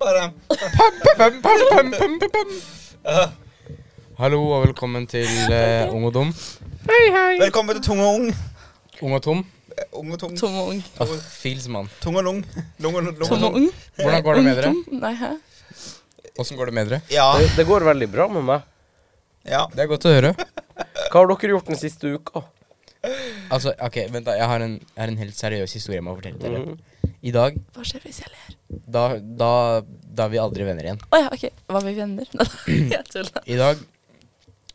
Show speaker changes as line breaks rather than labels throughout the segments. Pam, pam, pam, pam, pam, pam, pam. Hallo og velkommen til eh, Ung og dum.
Velkommen til Tung og Ung. Eh,
Ung og tom.
Ung og Tung.
Tom og ung.
Åh, Fils, mann.
Tung og Lung. Lung og lung.
Tom og ung.
Hvordan går det med dere?
Ung, tom? Nei, hæ?
Åssen går det med dere?
Ja.
Det, det går veldig bra med meg.
ja.
Det er godt å høre.
Hva har dere gjort den siste uka?
Altså, ok, vent da. Jeg har en, jeg har en helt seriøs historie jeg må
Mm.
fortelle dere.
Mm.
I dag,
Hva skjer hvis jeg ler?
da, da, da er vi aldri venner igjen.
Å ja, OK. Hva med venner? jeg tuller.
I dag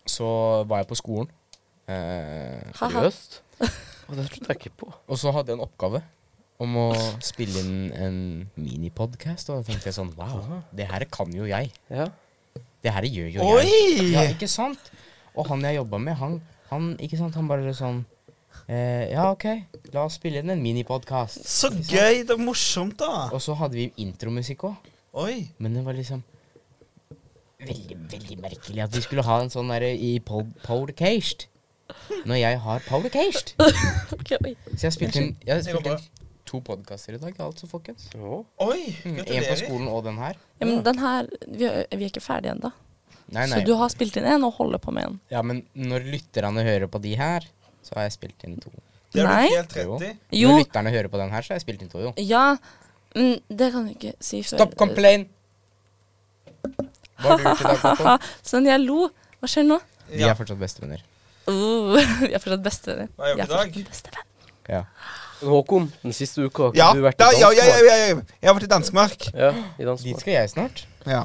så var jeg på skolen, eh,
Haha.
Seriøst? Å, det trodde jeg ikke på.
og så hadde jeg en oppgave om å spille inn en minipodcast. Og da tenkte jeg sånn Wow, det her kan jo jeg.
Ja.
Det her gjør jo jeg. Ja,
Oi!
ikke sant? Og han jeg jobba med, han, han, ikke sant, han bare sånn eh, Ja, OK, la oss spille inn en minipodkast.
Så gøy. Det er morsomt, da.
Og så hadde vi intromusikk òg,
Oi.
men det var liksom Veldig, veldig merkelig at vi skulle ha en sånn derre i pod- podcast. Når jeg har podcast.
Ok, oi.
Så jeg spilte inn, jeg spilte inn to podkaster i dag, altså, folkens.
Jo.
Oi.
Mm, En på
Gratulerer.
skolen og den her.
Ja, men den her Vi er, vi er ikke ferdige ennå.
Nei,
Så
nei.
du har spilt inn én og holder på med en.
Ja, men når lytterne hører på de her, så har jeg spilt inn to.
Det er
Nei.
du helt rett i.
Jo.
Når lytterne hører på den her, så har jeg spilt inn to, jo.
Ja. Men det kan du ikke si før
Stopp complain! Hva har du gjort i dag, Håkon?
Sånn, jeg lo. Hva skjer nå?
Vi
Ja.
er fortsatt bestevenner.
Uh, vi er fortsatt bestevenner.
Hva har jeg gjort
Vi er
i dag?
fortsatt bestevenn.
Ja.
Håkon, den siste uka har ikke
Ja,
du vært
da,
i
ja, ja, ja,
Danmark?
ja, ja. jeg har vært i Danmark.
Ja, i
Dit
Danmark.
skal jeg snart.
Ja.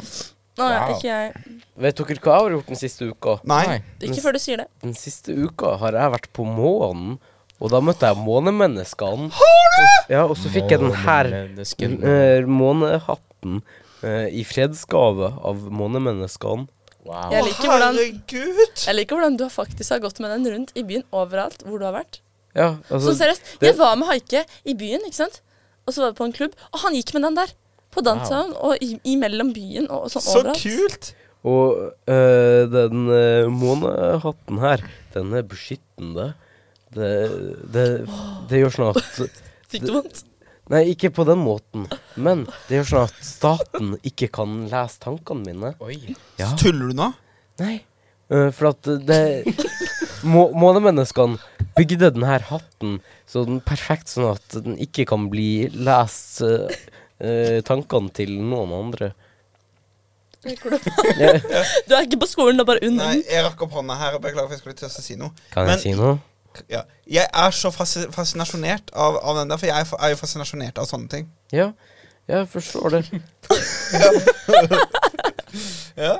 Nå, ja,
Wow.
ikke jeg.
Vet dere hva jeg har gjort den siste uka?
Nei.
Ikke før du sier det.
Den siste uka har jeg vært på månen, og da møtte jeg månemenneskene. Ja, og så fikk jeg den her eh, månehatten eh, i fredsgave av månemenneskene.
Wow.
Jeg
Å,
liker hvordan,
Herregud.
jeg liker hvordan du har faktisk har gått med den rundt i byen overalt hvor du har vært.
Ja, altså
Så seriøst,
det-
jeg var med Haike i byen, ikke sant? Og så var vi på en klubb, og han gikk med den der. På downtown og i, imellom byen og sånn
Så
overalt.
kult.
Og øh, den øh, månehatten her, den er beskyttende. Det, det, det gjør sånn at
Fikk du vondt?
Nei, ikke på den måten, men det gjør sånn at staten ikke kan lese tankene mine.
Oi.
Ja.
Tuller du nå?
Nei. øh, for at det må, Månemenneskene bygde den her hatten så den perfekt sånn at den ikke kan bli lest øh, øh, tankene til noen andre.
Du er ikke på skolen, du er bare under
Nei,
den.
jeg rakk opp hånda her. og Beklager, for jeg skulle til å si noe.
Kan
Men-
jeg si noe?
Ja. Jeg er så fas- fascinasjonert av, av den der, for jeg er fa- er jo fascinasjonert av sånne ting.
Ja, jeg forstår det.
Ja.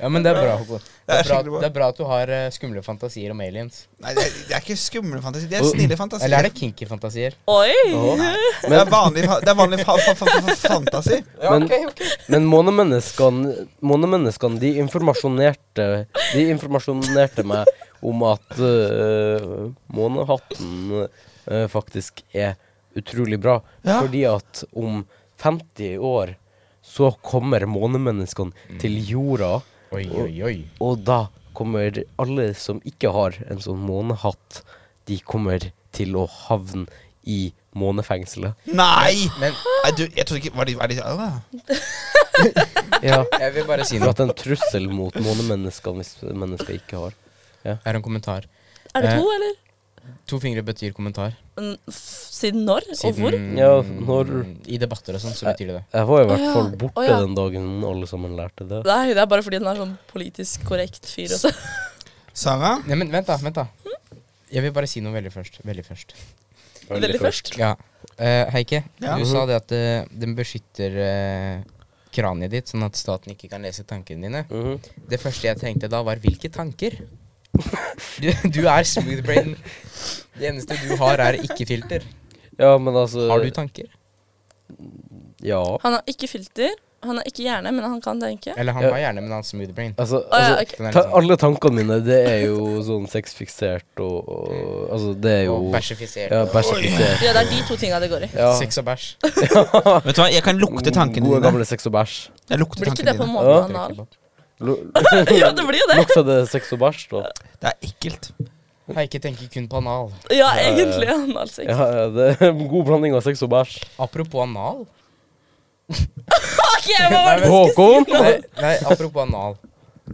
Ja, men det er bra, Håkon. Det er bra,
skikkelig bra.
det er bra at du har eh, skumle fantasier om aliens.
Nei, det er, det er ikke skumle fantasier. Det er snille fantasier.
Eller er det kinky fantasier?
Oi!
det er vanlig, fa- det er vanlig fa fa fa fa fantasi.
Men, men månemenneskene, månemenneskene de, informasjonerte, de informasjonerte meg om at øh, månehatten øh, faktisk er utrolig bra.
Ja.
Fordi at om 50 år så kommer månemenneskene til jorda,
Oi, oi, oi.
og da kommer alle som ikke har en sånn månehatt, de kommer til å havne i månefengselet.
Nei!
Men
Nei, du, jeg trodde ikke Var det, var det ah.
Ja.
jeg vil bare si
For
noe.
at det er en trussel mot månemennesker hvis mennesker ikke har.
Jeg har en kommentar.
Er det
Eh.
to, eller?
To fingre betyr kommentar.
Mm, f- Siden når? Og hvor?
Siden
Ja, når-
I debatter og sånn, så betyr det det.
Jeg var i hvert
Å ja,
fall borte
å ja.
den dagen alle sammen lærte det.
Nei, det er bare fordi den er sånn politisk korrekt fyr også.
Sara?
Nei, men vent, da. Vent, da. Jeg vil bare si noe veldig først. Veldig først.
Veldig først.
Ja. Eh, Heike,
Ja.
du
Mhm.
sa det at eh, den beskytter eh, kraniet ditt, sånn at staten ikke kan lese tankene dine.
Mhm.
Det første jeg tenkte da, var 'hvilke tanker'? Du, du er smooth brain. Det eneste du har, er ikke-filter.
Ja, men altså
Har du tanker?
Ja.
Han har ikke filter, han har ikke hjerne, men han kan tenke.
Eller han
Ja.
har gjerne, men han har smooth brain.
Altså,
Å ja,
altså
ok.
Den er
ta,
litt sånn
alle tankene mine, det er jo sånn sexfiksert og, og Altså, det er jo
og bæsjefisert.
Ja, bæsjefisert.
Ja, det er de to tinga det går i.
Ja.
Sex og bæsj.
Vet du hva, jeg kan lukte tankene
Gode,
dine.
gamle sex og bæsj.
Jeg lukter
Blir ikke
tankene
det på
dine.
Ja.
måten han har?
Lu-
Ja, det blir jo det.
Lukta det sex og bæsj, da?
Det er ekkelt.
Heike tenker kun på anal.
Ja, egentlig. Analsex.
Ja, ja, det er en god blanding av sex og bæsj.
Apropos anal.
Ok, jeg! Hva var det du skulle
Håkon!
Nei, nei apropos anal.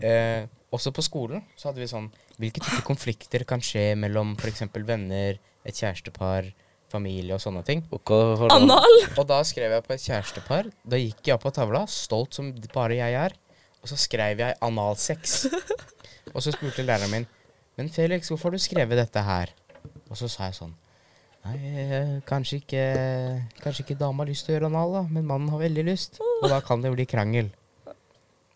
Eh, også på skolen så hadde vi sånn Hvilke typer konflikter kan skje mellom f.eks. venner, et kjærestepar, familie og sånne ting?
si? Anal?
Og da skrev jeg på et kjærestepar. Da gikk jeg opp på tavla, stolt som bare jeg er. Og så skrev jeg analsex. Og så spurte læreren min Men Felix, hvorfor har du skrevet dette her? Og så sa jeg sånn Nei, eh, kanskje ikke Kanskje ikke dama har lyst til å gjøre anal, da, men mannen har veldig lyst. Og da kan det bli krangel.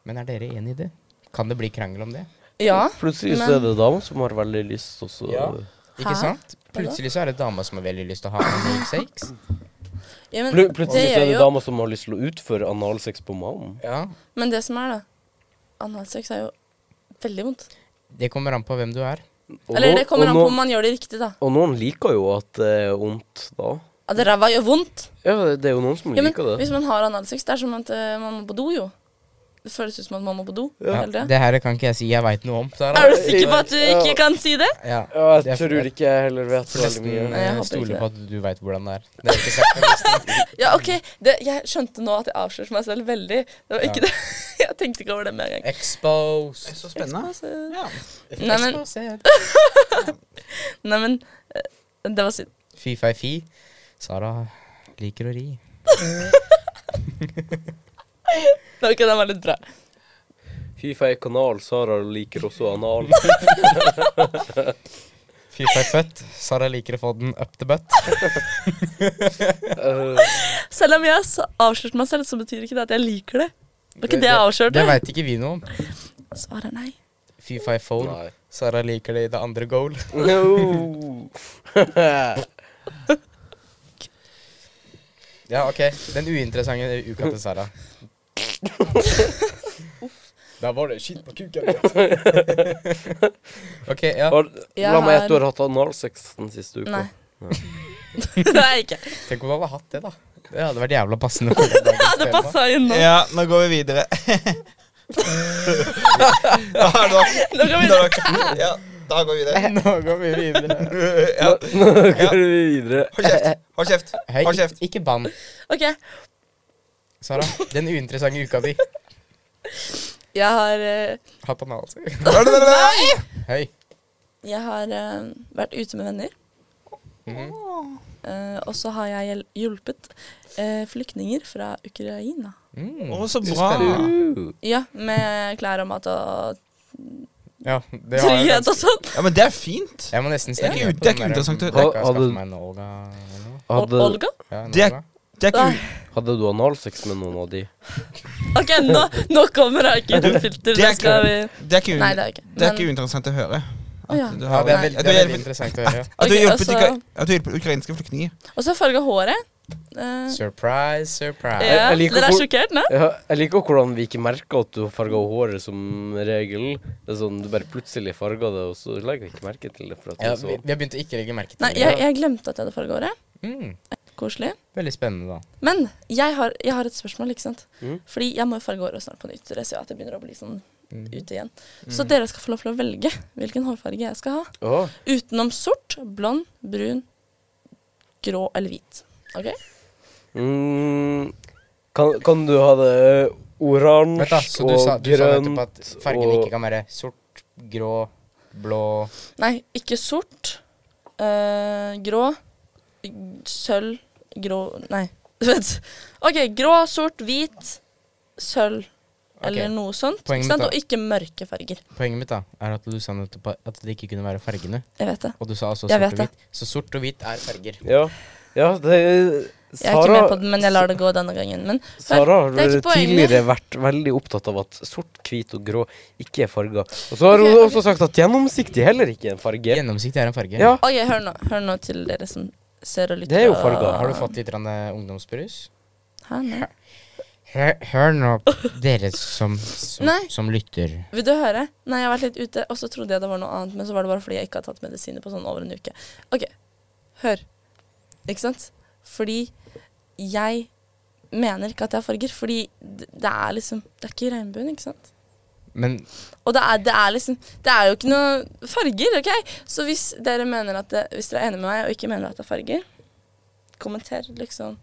Men er dere enig i det? Kan det bli krangel om det?
Ja.
Plutselig så er det dama som har veldig lyst, og så
Ja. Ikke
Hæ?
sant? Plutselig så er det dama som har veldig lyst til å ha en milkshakes.
ja men,
Plu
det
Plutselig så
gjør
er det
jo,
dama som har lyst til å utføre analsex på mannen.
Ja.
men det som er, da Analsex er jo veldig vondt.
Det kommer an på hvem du er.
Og
Eller det
nå-
kommer
og
an på
nå-
om man gjør det riktig, da.
Og noen liker jo at det er vondt da.
At ræva gjør vondt.
Ja, det er jo noen som
Ja, men
liker det.
hvis man har analsex, det er som at eh, man må på do, jo. Det føles ut som at man må på do.
Ja.
er det det?
Det her kan ikke jeg si jeg veit noe om. Sara.
Er du sikker på at du
Ja.
ikke kan si det?
Ja.
Ja,
Det er
jeg
for-
tror ikke jeg heller vet så veldig
Forresten,
mye.
Nei, jeg
jeg
håper
stoler
ikke
på at du veit hvordan det er. Det er ikke sagt forresten.
Ja, OK. Det, jeg skjønte nå at jeg avslørte meg selv veldig. Det var ikke
Ja.
det. Jeg tenkte ikke over det med en gang.
Expose.
Så spennende.
Altså,
Ja.
Nei, men-
Exposed.
Nei, men eh, Det var synd.
Fy fei fi. Sara liker å ri.
Ok, den var litt bra.
Fifa er kanal, Sara liker også anal.
Fy fei født. Sara liker å få den up the butt.
Eh,
Selv om jeg har s- avslørt meg selv, så betyr ikke det at jeg liker det. Det var ikke
Det-
det jeg
Det
avslørte.
veit ikke vi noe om.
Svaret er nei.
Fy fei fold.
nei.
Sara liker det i det andre goal.
No.
Ja, OK. Den uinteressante uka til Sara. Da var det skitt på kuken. OK, ja.
Har,
Jeg
la meg
har-
gjette, du har hatt analsex den siste uka.
Nei. det er jeg ikke.
Tenk om du hadde hatt det, da. Det hadde vært jævla passende. Det
Det passa inn nå.
Ja, nå går vi videre. da er det nok.
Nå går vi
Da, er det nok. ja, da går vi videre.
Nå går vi videre.
Ja.
Nå går vi videre.
Hold kjeft! Hold kjeft!
Hei,
Hold kjeft.
ikke, ikke bann,
OK.
Sara. Den uinteressante uka di.
Jeg har eh,
Hatt anal, altså.
Hva er det dere vil?
Hei.
Jeg har eh, vært ute med venner.
Mhm.
eh, og så har jeg hjel- hjulpet eh, flyktninger fra Ukraina.
Mm.
Å, så bra.
Spennende.
Uh,
Ja, med klær og mat og
Ja, det var jo
trygghet
ganske-
og sånn. sånt.
Ja, men det er fint.
Jeg må nesten
Det er
snakke
ikke- det er ikke interessant, du.
Kan jeg
Hadde-
skaffe meg en Olga eller noe?
Og
Hadde,
Olga?
Ja, en
Det er-
Olga.
Det er ikke,
hadde du analsex med noen av de?
OK, nå, nå kommer det ikke noe filter.
Det er
Det skal vi
det er ikke,
Nei, det
u-
er ikke.
det er ikke uinteressant å høre.
Å, ja.
du
Ja,
har-
det er veldig, det er
at du har
veldig
hjulpet-
interessant å høre.
at du har
Ok,
hjulpet
altså-
ukra- at du har hjulpet ukrainske flyktninger.
Og så farga håret. Eh,
Surprise, surprise.
ja.
Jeg- jeg liker
Dere er
hvor-
sjokkert nå?
Ja, jeg liker hvordan vi ikke merker at du har farga håret som regel. Det er sånn, Du bare plutselig farger det, og så legger vi ikke merke til det. For at
Ja,
det er
vi,
så.
vi har begynt å ikke legge merke til
Nei, jeg, jeg glemte at jeg hadde farga håret.
Mm.
Koselig.
Veldig spennende, da.
Men jeg har, jeg har et spørsmål, ikke sant.
Mm.
Fordi jeg må jo farge håret snart på nytt. Dere ser jo at jeg begynner å bli sånn ute igjen. Så
Mm.
dere skal få lov til å velge hvilken hårfarge jeg skal ha.
Åh,
Utenom sort, blond, brun, grå eller hvit. OK?
mm, kan, kan du ha det eh, oransje
Vent da, så du
og
sa, du sa
grønt
nettopp at fargene ikke kan være sort, grå, blå
Nei, ikke sort. eh, grå. Sølv. Grå Nei. Vent. OK, grå, sort, hvit, sølv eller
Ok,
noe sånt.
Poenget
Ikke sant?
mitt
Og ikke mørke farger.
Poenget mitt da, er at du sa nettopp at det ikke kunne være fargene.
Jeg vet det.
Og du sa altså sort
Jeg
og
vet det.
hvit. Så sort og hvit er farger.
Ja, ja det
Jeg er ikke med på
Sara,
den, men jeg lar det gå denne gangen. Men
Sara har
Det er ikke poenget.
tidligere vært veldig opptatt av at sort, hvit og grå ikke er farger. Og så har hun
Ok, ok.
også sagt at gjennomsiktig heller ikke er en farge.
Gjennomsiktig er en farge.
Ja,
OK, hør nå, hør nå til dere som ser og lytter.
Det er jo
og-
farger.
Har du fått litt grann, eh, ungdomsbrus?
Hæ, nei.
Hør, hør nå, dere som, som,
Nei.
som lytter.
Vil du høre? Nei, jeg har vært litt ute, og så trodde jeg det var noe annet, men så var det bare fordi jeg ikke har tatt medisiner på sånn over en uke. OK, hør. Ikke sant? Fordi jeg mener ikke at jeg har farger, fordi det det er liksom Det er ikke regnbuen, ikke sant?
Men
Og det er, det er liksom Det er jo ikke noe farger, OK? Så hvis dere mener at det, Hvis dere er enig med meg og ikke mener at det er farger, kommenter liksom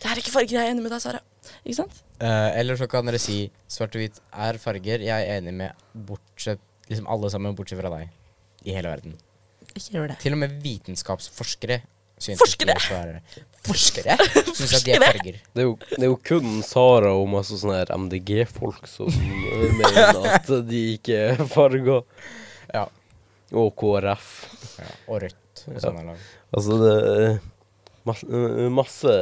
Det er ikke farger, jeg er enig med deg, Sara. Ikke sant?
Eh, eller så kan dere si svart og hvit er farger. Jeg er enig med bortsett, liksom alle sammen, bortsett fra deg. I hele verden.
Ikke gjør det.
Til og med vitenskapsforskere synes
Forskere!
ikke det skal være- Forskere syns at de er
Forskere!
farger.
Det er, jo, det er jo kun Sara og masse sånne her MDG-folk som eh, mener at de ikke er farger.
Ja.
Og KrF.
ja og rødt. Og sånn sånne lag.
Altså, det er masse, masse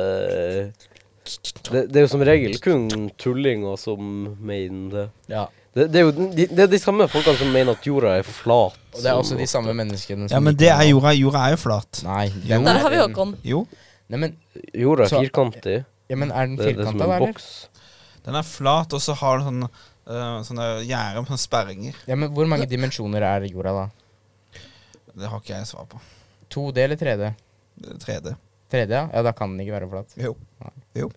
det, det er jo som regel kun tullinger som mener det.
Ja.
Det, det er jo de, det er de samme folkene som mener at jorda er flat.
Og det er
som-
også de samme menneskene som
Ja, men
liker
det er
meg.
jorda. Jorda er jo flat.
Nei, den
Jo.
er-
Der har vi Håkon.
Jo,
Nei, men,
Jorda er
Så-
firkantig.
ja, men er den
Det, det er som
firkanta,
en
eller?
boks.
den er flat, og så har den sånn eh, sånne gjerde med sånne sperringer.
Ja, men hvor mange dimensjoner er jorda, da?
Det har ikke jeg svar på.
2D eller 3D?
Det er 3D.
3D, ja. ja da kan den ikke være flat.
Jo.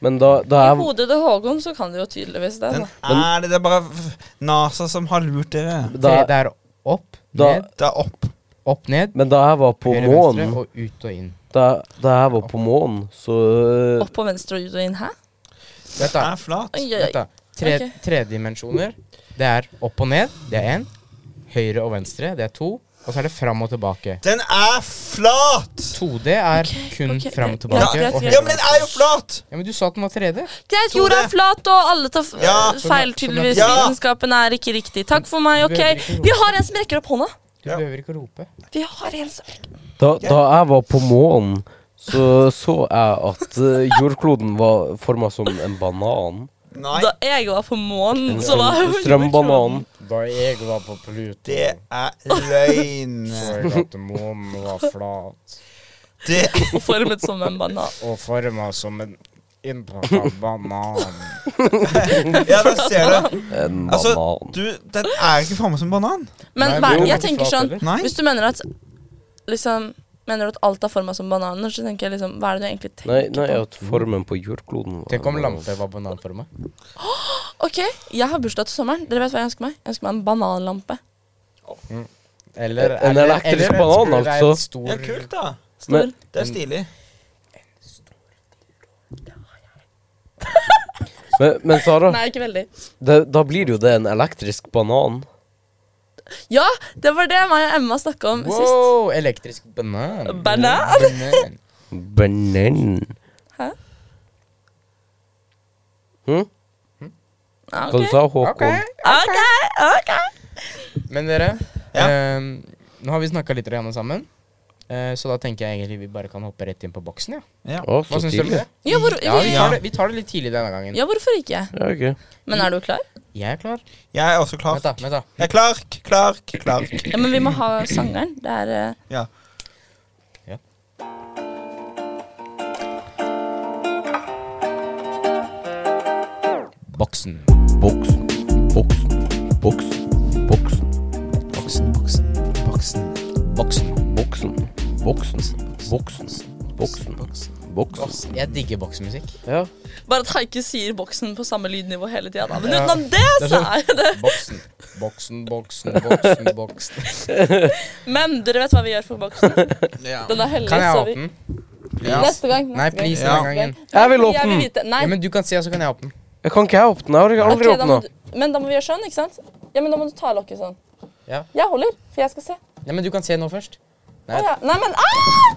Men da, da
I
jeg
hodet til Håkon så kan du jo tydeligvis det.
Den
Da.
er det. Det er bare f- NASA som har lurt dere.
3D
da,
er opp,
Da-
ned,
Det er opp.
opp, ned,
Men da jeg var på
høyre, venstre
månen
og ut og inn.
da, da jeg var på månen, så øh,
Opp og venstre og ut og inn. Hæ?
Vent,
Det
da.
er flat.
Oi, oi,
Vent
oi.
da. Tre,
Ok.
Tredimensjoner. Det er opp og ned, det er én. Høyre og venstre, det er to. Og så er det fram og tilbake.
Den er flat!
2D er
Ok,
kun
ok,
fram og
greit,
tilbake.
greit,
og
greit.
høyre
Ja,
og
men den
venstre.
er jo flat!
ja, men du sa at den var 3D.
Greit,
Tore.
jorda er flat, og alle tar f
Ja.
øh, feil, tydeligvis.
Ja.
Vitenskapen er ikke riktig. Takk for meg, OK? Vi har en som rekker opp hånda.
Du
Ja.
behøver ikke å rope.
Vi har en som
da, da jeg var på månen, så så jeg at øh, jordkloden var forma som en banan.
Nei,
Da jeg var på månen,
En
så var
strøm, strømbanan.
Da jeg var på Pluto
det er løgn.
jeg at månen var flat
Det
formet som en banan.
og forma som en innpakka banan.
Ja, da ser du.
En
Altså,
banan.
du, den er ikke framme som banan.
Men
Nei,
hva-
det er jo
jeg
ikke
tenker
flat
sånn
heller.
Nei.
Hvis du mener at liksom, Mener du at alt er forma som bananer, så tenker jeg liksom Hva er det du egentlig tenker
Nei, nei,
på?
at formen på jordkloden var
Tenk om
en banan.
lampe var bananforma.
OK, jeg har bursdag til sommeren. Dere vet hva jeg ønsker meg? Jeg ønsker meg en bananlampe.
Eller,
En elektrisk banan,
ønsker du deg
altså.
en stor-
Ja, kult, da.
Stor.
Men-
Det er stilig.
Men, men Sara,
Nei, ikke veldig.
det, da blir jo det en elektrisk banan.
Ja, det var det meg og Emma snakka om sist.
Wow, elektrisk banan.
Banan?
Banan.
Banan.
Hæ?
Hm?
Ja,
Hva du
OK,
sa Håkon?
Ok.
OK. ok
Men dere,
Ja.
ehm, nå har vi snakka litt grann sammen. Eh, så da tenker jeg egentlig vi bare kan hoppe rett inn på boksen. Ja.
Ja.
Å, så
Hva syns dere om
tidlig.
det?
Ja, hvor,
Ja, vi
Ja.
tar, det, vi tar det litt tidlig denne gangen.
ja, hvorfor ikke?
Ja, ok.
Men er du klar?
Jeg er klar.
Jeg er også klar.
Vent, da. vent da
Jeg er Clark, Clark, Clark.
Ja, Men vi må ha sangeren. Det er eh,
Ja.
Ja. Boksen.
Boksen, boksen, boksen, boksen,
Boksen, boksen, boksen,
Boksen.
boksen, boksen, boksen, boksen, boksen.
Jeg digger boksemusikk.
Ja.
Bare at Haike sier boksen på samme lydnivå hele tida, da. Men
Ja.
utenom det,
Det er
så
sånn.
er det
Boksen, boksen, boksen, boksen. boksen
Men dere vet hva vi gjør for boksen?
Ja.
Den er hellig,
Kan jeg
så vi
åpne den?
Neste gang. Neste
Nei,
gang.
please,
Ja.
denne gangen.
Jeg vil
Jeg
åpne
vil
den.
vite. Nei.
Ja, men Du kan si, og så kan jeg åpne den.
Jeg kan ikke jeg åpne den? Jeg har aldri
Ok, da må
åpnet
du, men da må vi gjøre sånn, ikke sant? Ja, men da må du ta lokket sånn.
Ja.
Jeg holder, for jeg skal se. Å,
Nei, men du kan se nå først.
ja. Nei, men ah!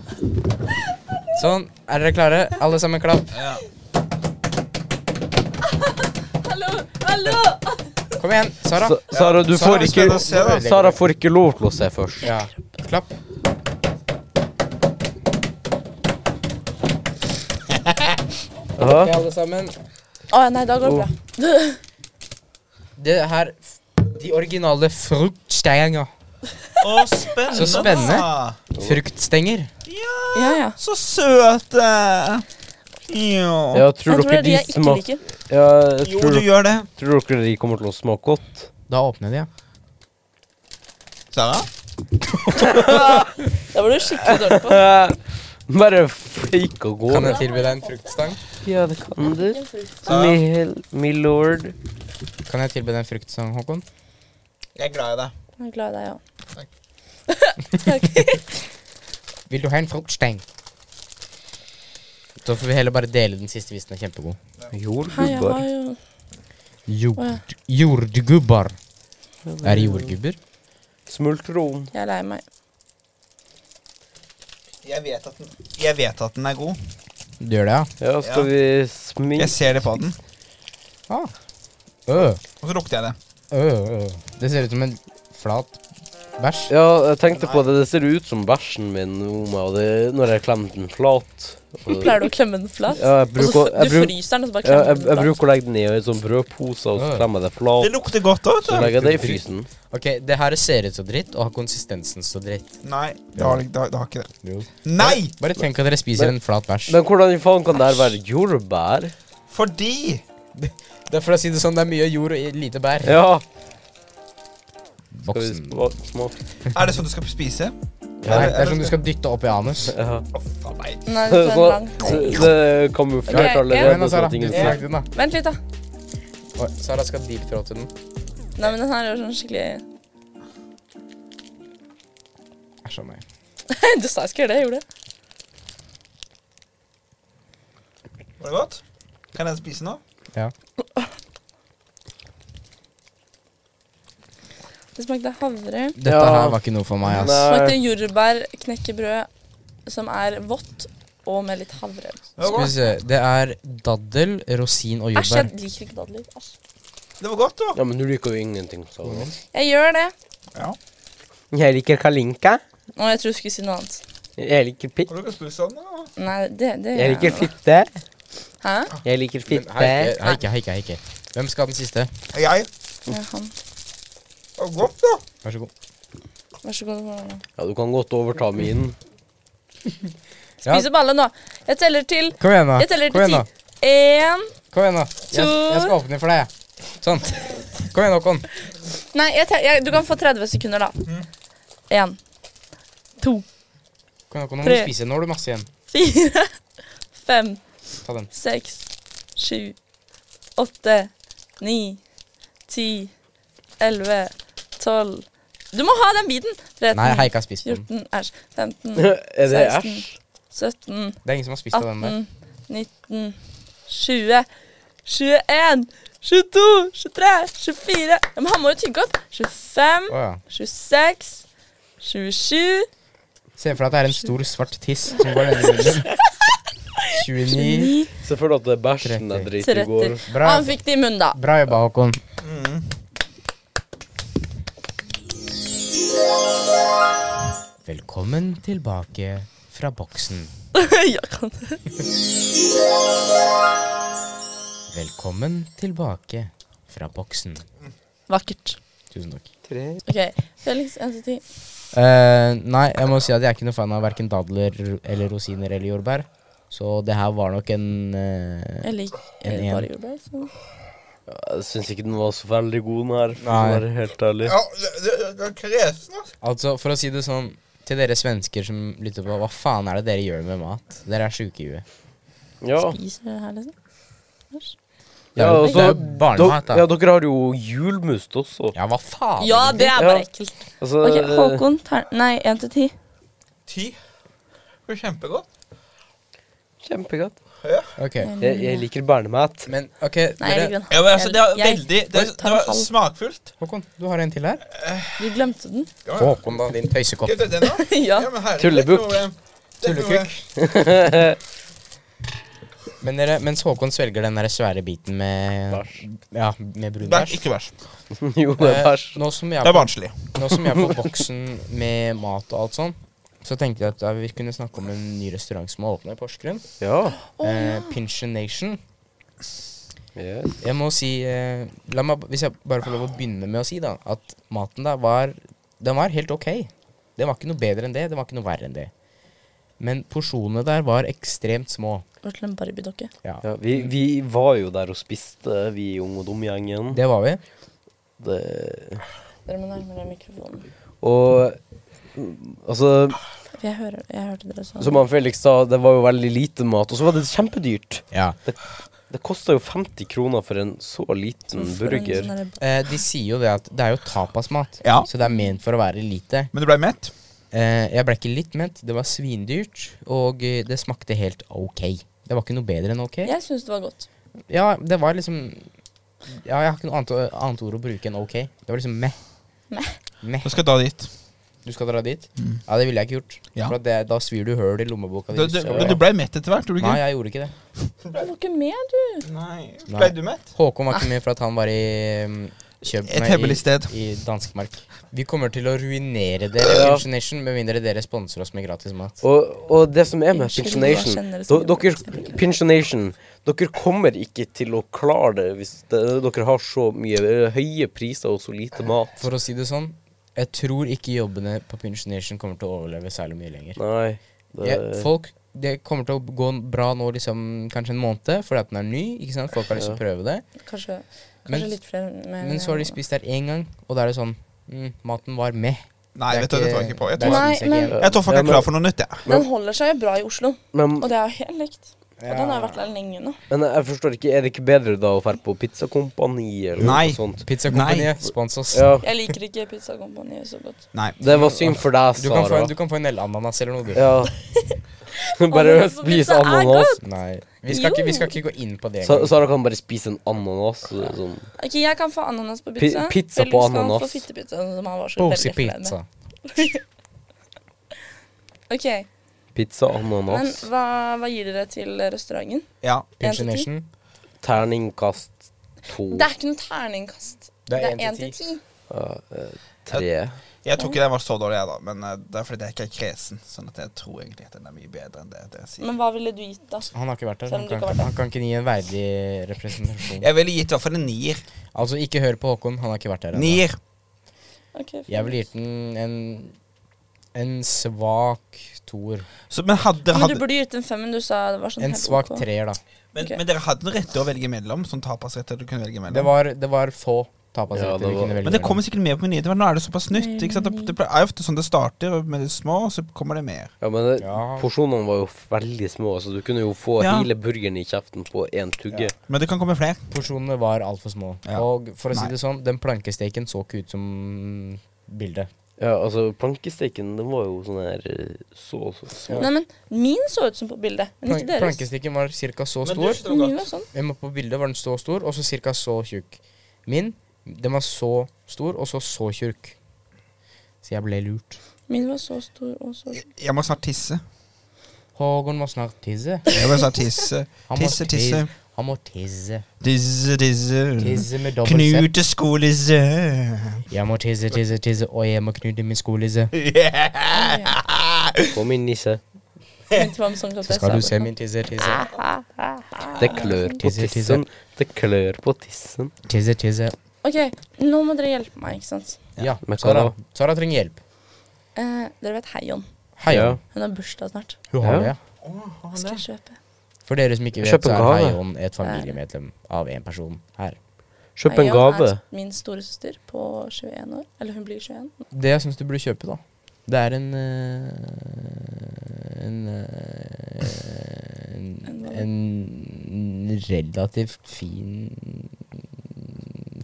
Sånn. Er dere klare? Alle sammen, klapp.
Ja.
Hallo! Hallo!
Kom igjen, Sara.
Sa- Sara, du
Sara,
får ikke
spennende å se, da.
Sara får ikke lov til å se først.
Ja. Klapp. Ok,
Ja.
alle sammen.
Å ja, nei, da går det bra.
Det her De originale fruktstenger.
Å, spennende.
Så spennende.
da.
Fruktstenger.
Ja,
Ja, ja.
så søte. Jo.
Ja, tror
jeg tror det
dere
er de
de
jeg ikke
smaker
liker.
ja,
Jo,
tror,
du gjør det.
tror dere de kommer til å smake godt?
Da åpner de, ja.
Sara?
Det var du skikkelig dårlig på.
Eh, Bare fake og gå.
Kan jeg tilby deg en fruktstang?
Ja, det kan du. Mi, mi lord.
Kan jeg tilby deg en fruktstang, Håkon?
Jeg er glad i deg.
Jeg er glad i deg òg.
Vil du ha en fruktstang? Da får vi heller bare dele den siste hvis den er kjempegod.
Hei, jeg har
Jordgubber.
jo Åja.
Jord, jordgubber. Er det jordgubber?
Smultron.
Jeg er lei meg.
Jeg vet, at den, jeg vet at den er god.
Du gjør det, ja?
Ja, skal vi sminke
Jeg ser det på den.
Ah. Øh,
Og så lukter jeg det.
øh, øh. Det ser ut som en flat bæsj.
Ja, jeg tenkte på det. Det ser ut som bæsjen min nå, med- og det, når jeg klemmer den flat. Og, ja,
Pleier du å klemme den flat?
jeg
Og
bruker,
så f-
jeg
du
bruk,
fryser den, og så bare
ja,
klemmer
jeg,
du
jeg
den flat.
bruker å legge den i en sånn brødpose, og så
Ja.
klemmer jeg det flat.
Det lukter sånn. godt òg.
Så legger jeg det i frysen.
Ok, det her ser ut som dritt, og har konsistensen så dritt.
Nei, det har, det, har- det har ikke det.
Jo.
Nei!
Bare tenk at dere spiser en flat bæsj.
Men hvordan i faen kan det her være jordbær?
Fordi
Det er for å si det sånn, det er mye jord og lite bær.
Ja. Skal vi
Boksen.
sma- smake?
Er det sånn du skal spise?
Nei, det er som du skal dytte opp i anus.
Ja.
Å, faen meg.
Nei, det tar en
Så,
lang.
det- det er kamuflert
Ok,
Kom igjen da,
allerede.
Sara.
så ingen ser.
Snakk til den, da.
Vent litt, da.
Oi, Sara skal deep-throw til den.
Nei, men den her er jo sånn skikkelig
Æsj a meg.
Du sa jeg skulle gjøre det, jeg gjorde det.
Var det godt? Kan jeg spise nå?
Ja.
Det smakte havre.
Dette
Ja.
her var ikke noe for meg, ass.
Nei.
Smakte jordbær, knekkebrød som er vått, og med litt havre.
Det var
Skal vi
godt,
se. Det er daddel, rosin og
Æsj,
jordbær.
jeg liker ikke dadler. Æsj.
det var godt da.
Ja, men du liker jo ingenting. Så.
Jeg gjør det.
Ja.
Jeg liker kalinka.
Å, jeg tror du skulle si noe annet.
Jeg liker pikk.
Har du ikke spist den? sånn, da?
Nei, det, det
Jeg liker
nå.
fitte.
Hæ?
Jeg liker
Men
fitte.
Heike, heike, heike, heike. Hvem skal ha den siste?
Jeg?
Ja, han.
Det var godt, da.
Vær så god.
Vær så god.
Ja, du kan godt overta
Mm.
min.
Spiser ballen nå. Jeg teller til
Kom igjen, da.
Jeg teller
Kom
til
igjen,
ti.
da.
Én
Kom igjen, da. Jeg, jeg skal åpne for deg, jeg. Sånn. Kom igjen, Håkon.
Nei, jeg tel- jeg, du kan få 30 sekunder, da.
Mm.
Én, to,
Kom igjen, Håkon. Nå må
Tre.
du spise. Nå har du masse igjen.
fire, fem,
Ta den.
seks, sju, åtte, ni, ti, elleve, tolv Du må ha den biten! 13,
Nei, Heike har spist på den.
14, æsj, 15,
Er det
Seksten.
æsj?
17,
Det er ingen som har spist av den der.
18, 19, 20, 21, 22, 23, 24 ja, Men han må jo tygge opp. 25,
Å ja.
26, 27
Se for deg at det er en stor, svart tiss som går ned i munnen. 29.
Selvfølgelig at det er bæsjen jeg driter i går.
30.
Bra.
Han fikk det i munnen, da.
Bra jobba, Håkon. Velkommen tilbake fra boksen.
ja, kan du.
Velkommen tilbake fra boksen.
Vakkert.
Tusen takk.
OK. Felix, en til ti.
Eh, nei, jeg må si at jeg er ikke noe fan av verken dadler eller rosiner eller jordbær. Så det her var nok en eh,
Jeg liker
En
jeg
en.
bare jordbær. så-
Jeg syns ikke den var så veldig god, den her. for å
Nei.
være Helt ærlig.
Ja, det, det, det er kresen, altså.
Altså, for å si det sånn til dere svensker som lytter på, hva faen er det dere gjør med mat? Dere er sjuke i huet.
Ja.
Spiser du det her, liksom? Æsj.
Ja, og
det er
så-
jo barnemat,
Dere- Ja,
da.
dere har jo julmust også.
Ja, hva faen?
Ja, det er bare
Ja.
ekkelt.
Altså,
OK,
eh,
Håkon. Ter nei, en til ti.
Ti. Det var kjempegodt.
Kjempegodt.
Ok,
Jeg, jeg liker barnemat.
Men ok,
Nei,
dere,
jeg liker den.
Ja, men altså, det var
Jeg- jeg-
veldig Det, det
tar en
var
halv.
smakfullt.
Håkon, du har en til her.
Vi glemte den.
Ja, ja.
Håkon, da, din tøysekopp.
Skal vi ta den, da?
ja.
Ja, men herregud,
Tullebukk.
det er noe- eh, det er noe-
Tullekukk. Men dere, mens Håkon svelger den der svære biten med
Bæsj.
Ja, med brun
Bæsj,
bæsj.
ikke bæsj.
jo, det er
Eh,
bæsj.
Nå som jeg
Det
er
er
på,
barnslig.
nå som jeg er på boksen med mat og alt sånn, så tenkte jeg at da vi kunne snakke om en ny restaurant som har åpna i Porsgrunn.
Ja.
eh, Pinscher Nation.
Yes.
Jeg må si eh, la meg, b- Hvis jeg bare får lov å begynne med å si, da, at maten der var Den var helt ok. Den var ikke noe bedre enn det. Den var ikke noe verre enn det. Men porsjonene der var ekstremt små.
Går til en barbiedokke.
Ja,
Ja, vi, vi var jo der og spiste, vi i Ung og Dum-gjengen.
Det var vi.
Det-
Dere må nærme dere mikrofonen.
Og mm, altså,
For Jeg, hører, jeg hørte dere sa
som han Felix sa, det var jo veldig lite mat. Og så var det kjempedyrt.
Ja.
Det kosta jo 50 kroner for en så liten
Hvorfor en
burger.
sånn der-
Eh, de sier jo det at det er jo tapasmat,
Ja.
så det er ment for å være lite.
Men du ble mett?
Eh, jeg ble ikke litt mett, det var svindyrt, og eh, det smakte helt ok. Det var ikke noe bedre enn ok.
Jeg syns det var godt.
Ja, det var liksom Ja, jeg har ikke noe annet, annet ord å bruke enn ok. Det var liksom meh.
Meh.
Meh.
Du skal da dit.
Du skal dra dit?
Mm.
Ja, det ville jeg ikke gjort.
Ja.
For at det, da svir du høl i lommeboka
Du,
di.
du,
så-
men du ble mett etter hvert, gjorde du
Nei,
ikke?
jeg gjorde ikke det.
Du var ikke med, du.
Nei.
Nei.
Ble du mett?
Håkon var ikke med for at han var i um, Kjøp
Ah. Et
nei,
hemmelig sted.
i, i Danskemark. Vi kommer til å ruinere dere,
Ja.
Kitchen Nation, med mindre dere sponser oss med gratis mat.
Og, og det som er med
Unnskyld,
Pinch
jeg
Nation
kjenner det
do-
som
Dere
gjorde-
Pinch Nation, dere kommer ikke til å klare det hvis det, dere har så mye eh, høye priser og så lite mat.
For å si det sånn, jeg tror ikke jobbene på Pinch Nation kommer til å overleve særlig mye lenger.
Nei. Det,
Jeg,
Eh.
folk, det kommer til å gå bra nå liksom kanskje en måned, fordi at den er ny. ikke sant? Folk har lyst til å prøve det.
Kanskje, kanskje
Men-
litt flere. eh, Med,
Men så har de spist der én gang, og da er det sånn mm, Maten var med.
Nei, vet du, det tror jeg ikke på. Jeg
det
tror,
Nei,
spiser jeg
men-
ikke igjen.
jeg tror folk
Ja,
er
men-
klar for noe nytt, jeg.
Den holder seg jo bra i Oslo,
men,
og det er jo helt likt. Og den har jo vært der lenge nå.
men jeg forstår ikke, er det ikke bedre da å dra på Pizzakompani eller
Nei.
noe sånt?
Pizzakompaniet, spons oss.
Ja,
Jeg liker ikke pizzakompaniet så godt.
Nei.
det var synd for deg,
Du kan, få en,
Sara.
du kan få en del ananas eller noe, du.
Ja. Bare
Ananas på
spis
pizza er
ananas.
Nei. Vi skal,
Jo.
ikke, vi skal ikke gå inn på det.
Sa-
engang.
Sara kan bare spise en ananas. Sånn.
Ok, Jeg kan få ananas på
Pi-
pizza.
pizza på
Felix kan få
ananas.
fittepizza, sånn som han var så
Pose
veldig flau med.
pizza.
Ok,
Pizza,
Men
ananas,
hva, hva gir dere til restauranten?
Ja.
En til ti?
Pensjonation.
terningkast to,
Det er ikke noe terningkast.
Det er en til
én til ti.
eh, tre.
Jeg tror ikke den var så dårlig, jeg, da. Men eh, det er fordi jeg ikke er kresen. Sånn at jeg tror egentlig at den er mye bedre enn det, det jeg sier.
Men hva ville du gitt, da?
Han har ikke vært der. Han
Selv om du
kan,
ikke har vært der.
han kan ikke gi en verdig representasjon.
Jeg ville gitt i hvert fall en nier.
Altså, ikke hør på Håkon. Han har ikke vært der. ennå.
Nier.
Ok, fint.
Jeg ville gitt den en, en svak toer.
Så, men hadde dere
Men du
hadde,
burde gitt en fem, men du sa det var sånn
En
helt
svak
ok.
treer, da.
men,
ok.
men dere hadde noen retter å velge mellom? Sånn tapasretter du kunne velge mellom?
Det var, det var få
Ja,
tapasretter
det
vi
var-
kunne velge.
Men det
mellom.
kommer sikkert mer på menyen etter hvert. Nå er det såpass nytt.
Mer
ikke sant?
meny.
Det, det er jo ofte sånn det starter med de små, og så kommer det mer.
Ja, men det,
Ja.
porsjonene var jo f- veldig små, så du kunne jo få
Ja.
hele burgeren i kjeften på én tugge.
Men det kan komme flere.
Porsjonene var altfor små.
Ja.
Og for å si
Nei.
det sånn, den plankesteken så ikke ut som bildet.
Ja, altså, plankesteken, den var jo sånn her eh, så, så små.
Nei, men min så ut som på bildet, men
Plank
ikke deres.
plankesteken var ca. så stor.
Min var sånn.
Men på bildet var den så stor, og så cirka så tjukk. Min, den var så stor, og så så tjukk. Så jeg ble lurt.
Min var så stor og så
Jeg- Jeg må snart tisse.
Hågon må snart tisse.
Jeg må snart tisse.
Han må
Tisse, tisse.
Han må tisse.
Tisse, tisse.
Tisse med dobbelt Z.
Knute skolisse.
Jeg må tisse, tisse, tisse, og jeg må knute min skolisse.
Yeah.
Kom inn, nisse.
Mitt var sånn at jeg
Skal du
det
se
sånn.
min tisse, tisse?
Det klør på
Tisse, tisse.
tissen. Det klør på tissen.
Tisse, tisse.
Ok, nå må dere hjelpe meg, ikke sant.
Ja,
Men hva
Sara,
da?
Sara trenger hjelp.
Eh, dere vet Heion.
Hei.
Ja.
Hun har bursdag snart.
Hun har
Ja.
det, ja.
Hva skal jeg kjøpe?
For dere som ikke
Kjøp en
vet, så er
gave.
Heion et familiemedlem av en person her.
Kjøp en
Heion
gave.
er min storesøster på 21 år. Eller hun blir 21.
Det jeg syns du burde kjøpe, da, det er en eh, En, eh, en, en relativt fin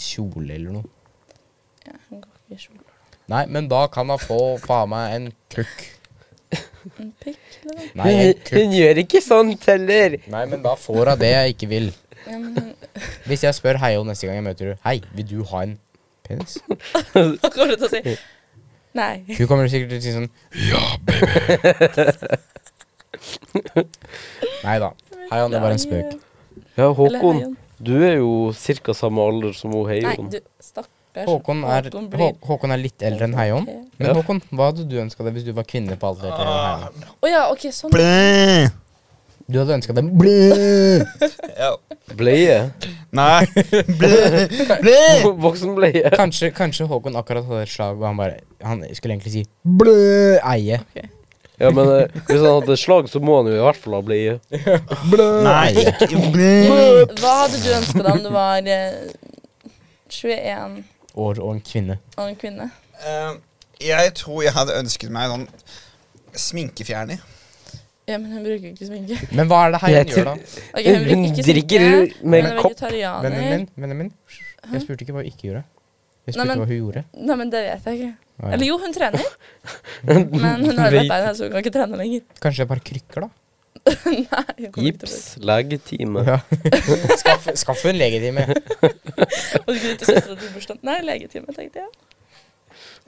kjole eller noe.
Ja, hun går ikke i kjole.
Nei, men da kan han få faen meg en kukk.
En pikk, eller noe.
Nei, en kukk.
gjør ikke sånt heller.
Nei, men da får hun det jeg ikke vil.
Ja, men hun-
Hvis jeg spør Heio neste gang jeg møter henne Hei, vil du ha en penis?
Hva kommer du til å si? Nei.
Hun kommer sikkert til å si sånn Ja, baby. Nei da. Heion, det var en spøk.
Ja,
Eller
Håkon,
Heion.
du er jo ca. samme alder som hun
Nei,
Heion.
du, stakkars.
Håkon er,
Håkon
Hå
blir-
Håkon er litt eldre enn Heion. Men
Ja.
Håkon, hva hadde du ønska deg hvis du var kvinne på alder til Heion?
Å ja, ok, sånn.
Blæ.
Du hadde ønska deg blæ!
Ja.
Bleie.
Nei. Blæ. Blæ.
Voksenbleie.
Kanskje, kanskje Håkon akkurat hadde et slag, og han bare Han skulle egentlig si blæ eie.
Ja, men eh, hvis han hadde slag, så må han jo i hvert fall ha bleie.
Blæ
Nei.
eie.
ikke Blæ.
Hva hadde du ønska deg om du var eh, 21
År og en kvinne.
og en kvinne?
Eh, Jeg tror jeg hadde ønsket meg sånn sminkefjerner.
Ja, men hun bruker ikke sminke.
Men hva er det
Jeg
Heion gjør, da?
Ok, hun bruker ikke
drikker
sminke.
med
Hun er
kopp.
vegetarianer.
Vennen min? Vennen min? Jeg spurte ikke hva hun ikke gjorde. Jeg
Nei,
spurte
men-
hva hun gjorde.
Nei, men det vet jeg ikke.
Nei.
Eller jo, altså, hun trener. Men hun har ødelagt beina, så hun kan ikke trene lenger.
Kanskje det er bare krykker, da?
Nei, jeg kommer ikke til å
Gips, legetime.
Ja. Skaff, skaff en legetime.
bruke- Og sånn du kunne til søstera di i bursdagen. Nei, legetime, tenkte jeg.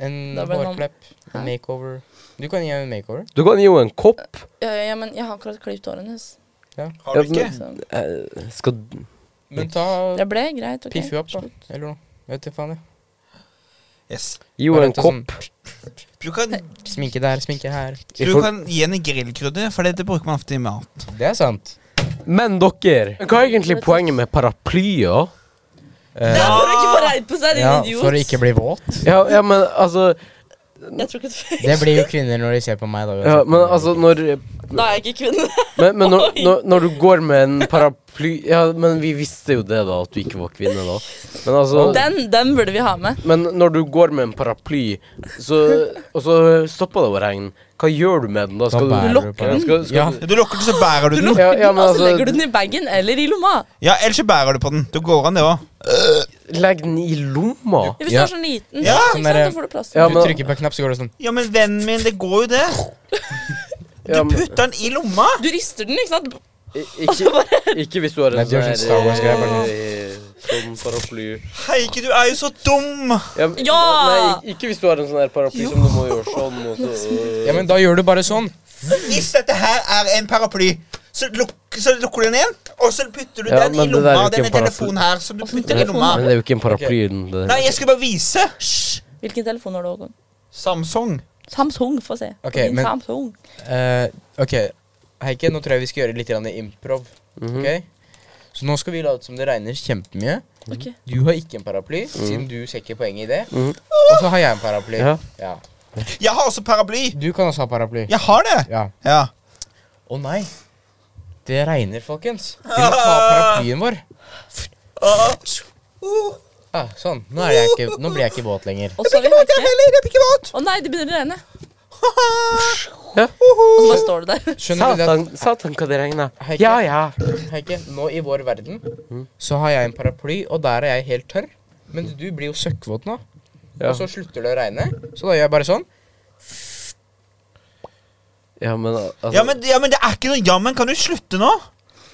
En
Da ble han-
hårklepp. En makeover. Du kan gi henne en makeover.
Du kan gi henne en kopp.
Ja, ja, ja, men jeg har akkurat klippet håret hennes.
Har du
Ja,
ikke?
men-
Så
Eh, skal d-
Men ta
det ble greit. ok.
piff henne opp, da. Eller noe. Jeg vet ikke faen, jeg.
Yes.
Gi henne en
Bare ta sånn-
kopp.
Du kan,
Sminke der, sminke her.
I
du
for-
kan gi henne grillkrydder, for det, det bruker man ofte i mat.
Det er sant.
Men dere, hva er egentlig poenget med paraplyer?
Det
Eh,
er for å ikke få redd på seg, din
ja,
idiot.
for å ikke bli våt.
Ja, ja, men altså
Jeg tror ikke det funker.
Det blir jo kvinner når de ser på meg, da.
ja, Men altså, når
Da er jeg ikke kvinne.
Men, men når,
Oi.
når, når du går med en paraply Ja, men vi visste jo det, da, at du ikke var kvinne, da. Men altså
Den, den burde vi ha med.
Men når du går med en paraply, så, og så stopper det å regne, hva gjør du med den da? Skal du
bærer
du lokker
på-
den? Skal, skal
Ja.
du,
Du lokker den, så bærer du den.
ja, ja, men
og så legger du
altså,
den i bagen eller i lomma.
Ja, ellers så bærer du på den. Du går an, det òg.
legg den i lomma.
Hvis du
Ja.
er sånn liten,
Ja.
ikke
Sånn
sant,
der-
da får du plass til
Ja,
den.
Du
men-
trykker på en knapp, så går det sånn.
Ja, men vennen min, det går jo det.
Ja, men,
Putter den i lomma.
Du rister den, ikke sant?
i- ikke, ikke hvis du har
Nei,
en
det gjør
sånn
sånn Star Wars-greier, bare
eh, sånn paraply.
Heike, du er jo så dum!
Ja! men-
Ja!
Nei, ikke hvis du har en sånn her paraply som du må gjøre sånn. Og så,
Ja, men da gjør du bare sånn.
Hvis dette her er en paraply, så, luk, så lukker du den igjen, og så putter du
Ja,
den i
men det der er jo
lomma.
ikke
Denne
en paraply.
telefonen her som du putter i
men,
lomma.
men det er jo ikke en paraply. den der.
Nei, jeg skulle bare vise. Hysj!
Hvilken telefon har du, Håkon?
Samsung.
Samsung, få se.
Ok,
Din
men-
Samsung.
Eh, OK, Heike, nå tror jeg vi skal gjøre litt grann improv.
Mhm.
Ok? Så nå skal vi late som det regner kjempemye.
Ok.
Du har ikke en paraply, siden du ser ikke poenget i det.
Mhm.
Og så har jeg en paraply.
Ja.
Ja.
Jeg har også paraply.
Du kan også ha paraply.
Jeg har det.
Ja.
Ja.
Å nei. Det regner, folkens. Vi må ta paraplyen vår.
Uh,
Ja, sånn. Nå, er jeg ikke, nå blir jeg ikke våt lenger.
Og så har vi
det er
Heike.
heller, det blir ikke våt.
Å nei, det begynner å regne.
Ja.
Og så bare står det der.
Skjønner du det?
Satan, satan, hva det regner.
Heike?
Ja, ja.
Heike, nå i vår verden så har jeg en paraply, og der er jeg helt tørr. Men du blir jo søkkvåt nå.
Ja,
Og så slutter det å regne, så da gjør jeg bare sånn.
ja men altså
Ja men, ja, men det er ikke noe jammen. Kan du slutte nå?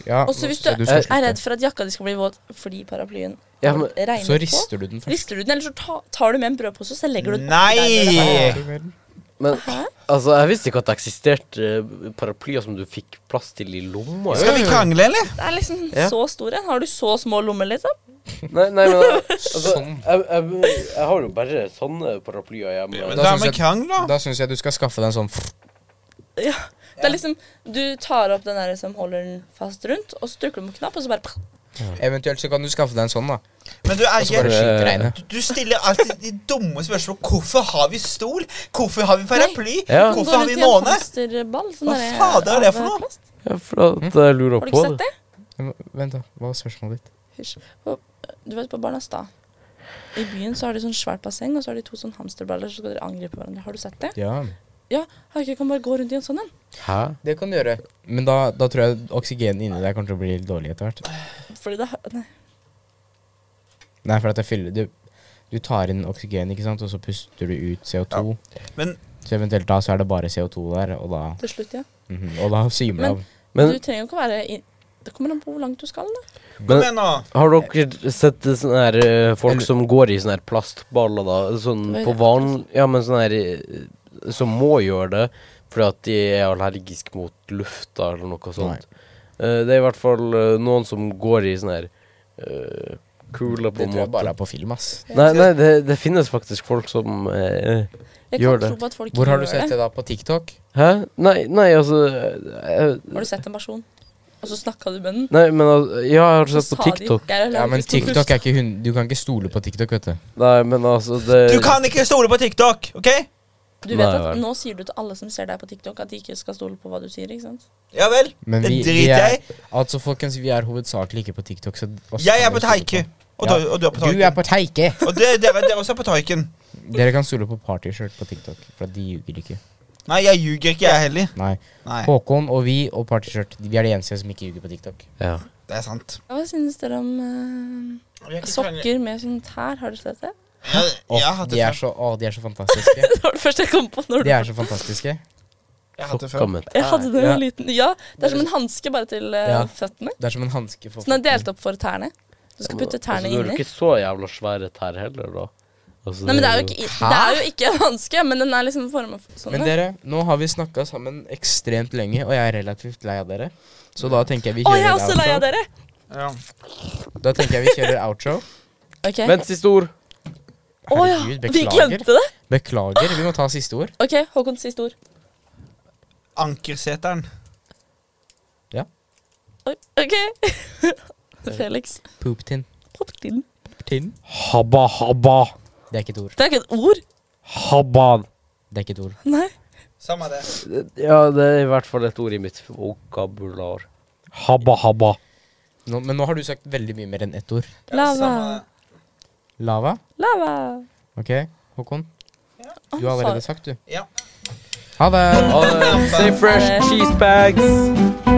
Ja,
Og så hvis du
så skal
er redd
slutte.
for at jakka di skal bli våt fordi paraplyen
Ja, men-
regner
Så rister du den
på,
først.
rister du den, eller så ta, tar du med en brødpose og så legger du den oppi der. når det
Nei!
Men
Hæ?
altså, jeg visste ikke at det eksisterte eh, paraplyer som du fikk plass til i lomma.
Skal vi krangle, eller?
er- Det er liksom
Ja.
så stor en. Har du så små lommer, liksom?
Nei, nei, men altså, jeg,
Sånn.
jeg, jeg har jo bare sånne paraplyer
da
hjemme.
Hva
synes
med
jeg-
krangel, da?
Da syns jeg du skal skaffe deg en sånn
Ja. Det er liksom, Du tar opp den der som holder den fast rundt, og så trykker du på en knapp, og så bare
Eventuelt så kan du skaffe deg en sånn, da.
Men du
Og så bare
er
skyter regnet.
du stiller alltid de dumme spørsmål. Hvorfor har vi stol? Hvorfor har vi paraply?
Ja.
Hvorfor har vi måne?
Hamsterball, sånn
Hva
der,
faen er det
av
for noe?
plast.
Ja, for at jeg lurer
Har du
på
ikke sett
det.
det?
Vent, da. Hva var spørsmålet ditt?
Hysj. På- Du vet, på Barnastad I byen så har de sånn svært basseng, og så har de to sånn hamsterballer, så skal dere angripe hverandre. Har du sett det?
Ja.
Ja, Haike kan bare gå rundt i en sånn en.
Hæ?
Det kan du gjøre. Men da, da tror jeg oksygenet inni deg kommer til å bli litt dårlig etter hvert.
Fordi det Nei.
Nei, for at det fyller du, du tar inn oksygen, ikke sant, og så puster du ut CO2.
Men
Så eventuelt da så er det bare CO2 der, og da,
Til slutt, ja.
mhm, og da symer det
Men-
av.
Men,
du trenger jo ikke å være i Det kommer an på hvor langt du skal, da.
kom
men
igjen, nå.
har dere sett eh, sånne her eh, folk
Eller-
som går i sånne her plastballer, da? Sånn
Oi,
på
det er
vanlig Ja, men sånne her eh, som må gjøre det fordi at de er allergiske mot lufta eller noe sånt. Eh, det er i hvert fall eh, noen som går i sånne her eh, kuler, på
Det
en
tror jeg
måte.
bare er på film, ass.
Nei, nei det, det finnes faktisk folk som eh,
Jeg
Gjør
kan
det.
tro på at folk
Hvor har du
gjør
sett det da? På TikTok?
Hæ? Nei, nei, altså eh,
Har du sett en person, og så snakka du med den?
Nei, men altså, Ja, jeg har
så
sett på
sa de,
TikTok.
«Jeg er
Ja, men
allergisk mot
TikTok er ikke hun... Du kan ikke stole på TikTok, vet du.
Nei, men altså det,
Eh,
Du kan ikke stole på TikTok, OK?
Du vet
Nei,
at
vel.
Nå sier du til alle som ser deg på TikTok, at de ikke skal stole på hva du sier. ikke sant?
Ja vel.
Men
Det
vi, vi
driter
er,
jeg i.
altså, folkens, vi er hovedsakelig ikke på TikTok, så oss
Jeg
kan
er
dere
på
stole
Teike. Og, du- og du er på
Du er
Taiken.
på Teike!
Og dere, dere, dere også er på Taiken.
Dere kan stole på partyskjørt på TikTok, for de ljuger ikke.
Nei, jeg ljuger ikke, jeg heller.
Nei.
Nei,
Håkon og vi og partyskjørt, vi er de eneste som ikke ljuger på TikTok.
ja.
det er sant.
Hva synes dere om eh, sokker med sånn tær? Har du sett det?
Jeg, jeg,
Åh,
har hatt
de,
det
er
før.
så, åh, de er så fantastiske.
Det var det første jeg kom på. når
De
du
er så fantastiske.
Jeg har hatt det før.
Sokkament.
Jeg hadde det da jeg var liten. Ja, det er som
Dere-
en hanske bare til eh,
Ja.
føttene.
Det er som en hanske for
Så den er delt opp for tærne. Du skal putte tærne
altså, Du har jo
inni.
ikke så jævla svære tær heller, da. Altså,
Nei, men det er jo ikke, i- det er jo ikke en hanske, men den er liksom forma sånn.
Men
ja.
dere, nå har vi snakka sammen ekstremt lenge, og jeg er relativt lei av dere. Så da tenker jeg vi
Å, jeg
kjører
er også lei av
outro.
dere!
Ja.
Da tenker jeg vi kjører outro.
Ok.
Vent, siste ord.
Å ja,
Herregud,
vi
beklager.
glemte det!
Beklager, vi må ta siste ord.
Ok, Håkon, siste ord.
Ankerseteren.
Oi, Ok. Felix.
Pooptin.
Pop til.
Tin.
Habba, habba,
Det er ikke et ord.
Det er ikke et ord.
habba.
Det er ikke et ord.
Nei.
Samme det.
Ja, det er i hvert fall et ord i mitt vokabular. Habba, habba.
Nå, men nå har du sagt veldig mye mer enn ett ord.
Ja,
Lava.
samme det.
Lava.
Lava.
OK, Håkon.
Å,
Du har allerede
sorry.
sagt, du.
Ja.
Ha det.
Stay fresh, cheese bags.